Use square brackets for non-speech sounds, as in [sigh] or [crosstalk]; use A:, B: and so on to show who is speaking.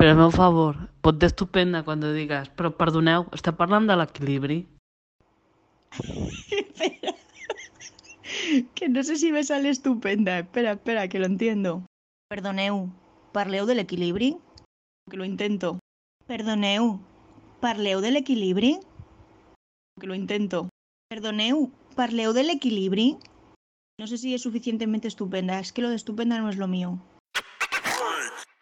A: Per el meu favor, pot estupenda cuando digas, però perdoneu, està parlant de l'equilibri?
B: Espera. [laughs] que no sé si me sale estupenda. Espera, espera, que lo entiendo. Perdoneu, parleu del equilibri? Que lo intento. Perdoneu, parleu del equilibri? Que lo intento. Perdoneu, parleu del equilibri? No sé si es suficientemente estupenda. Es que lo de estupenda no es lo mío.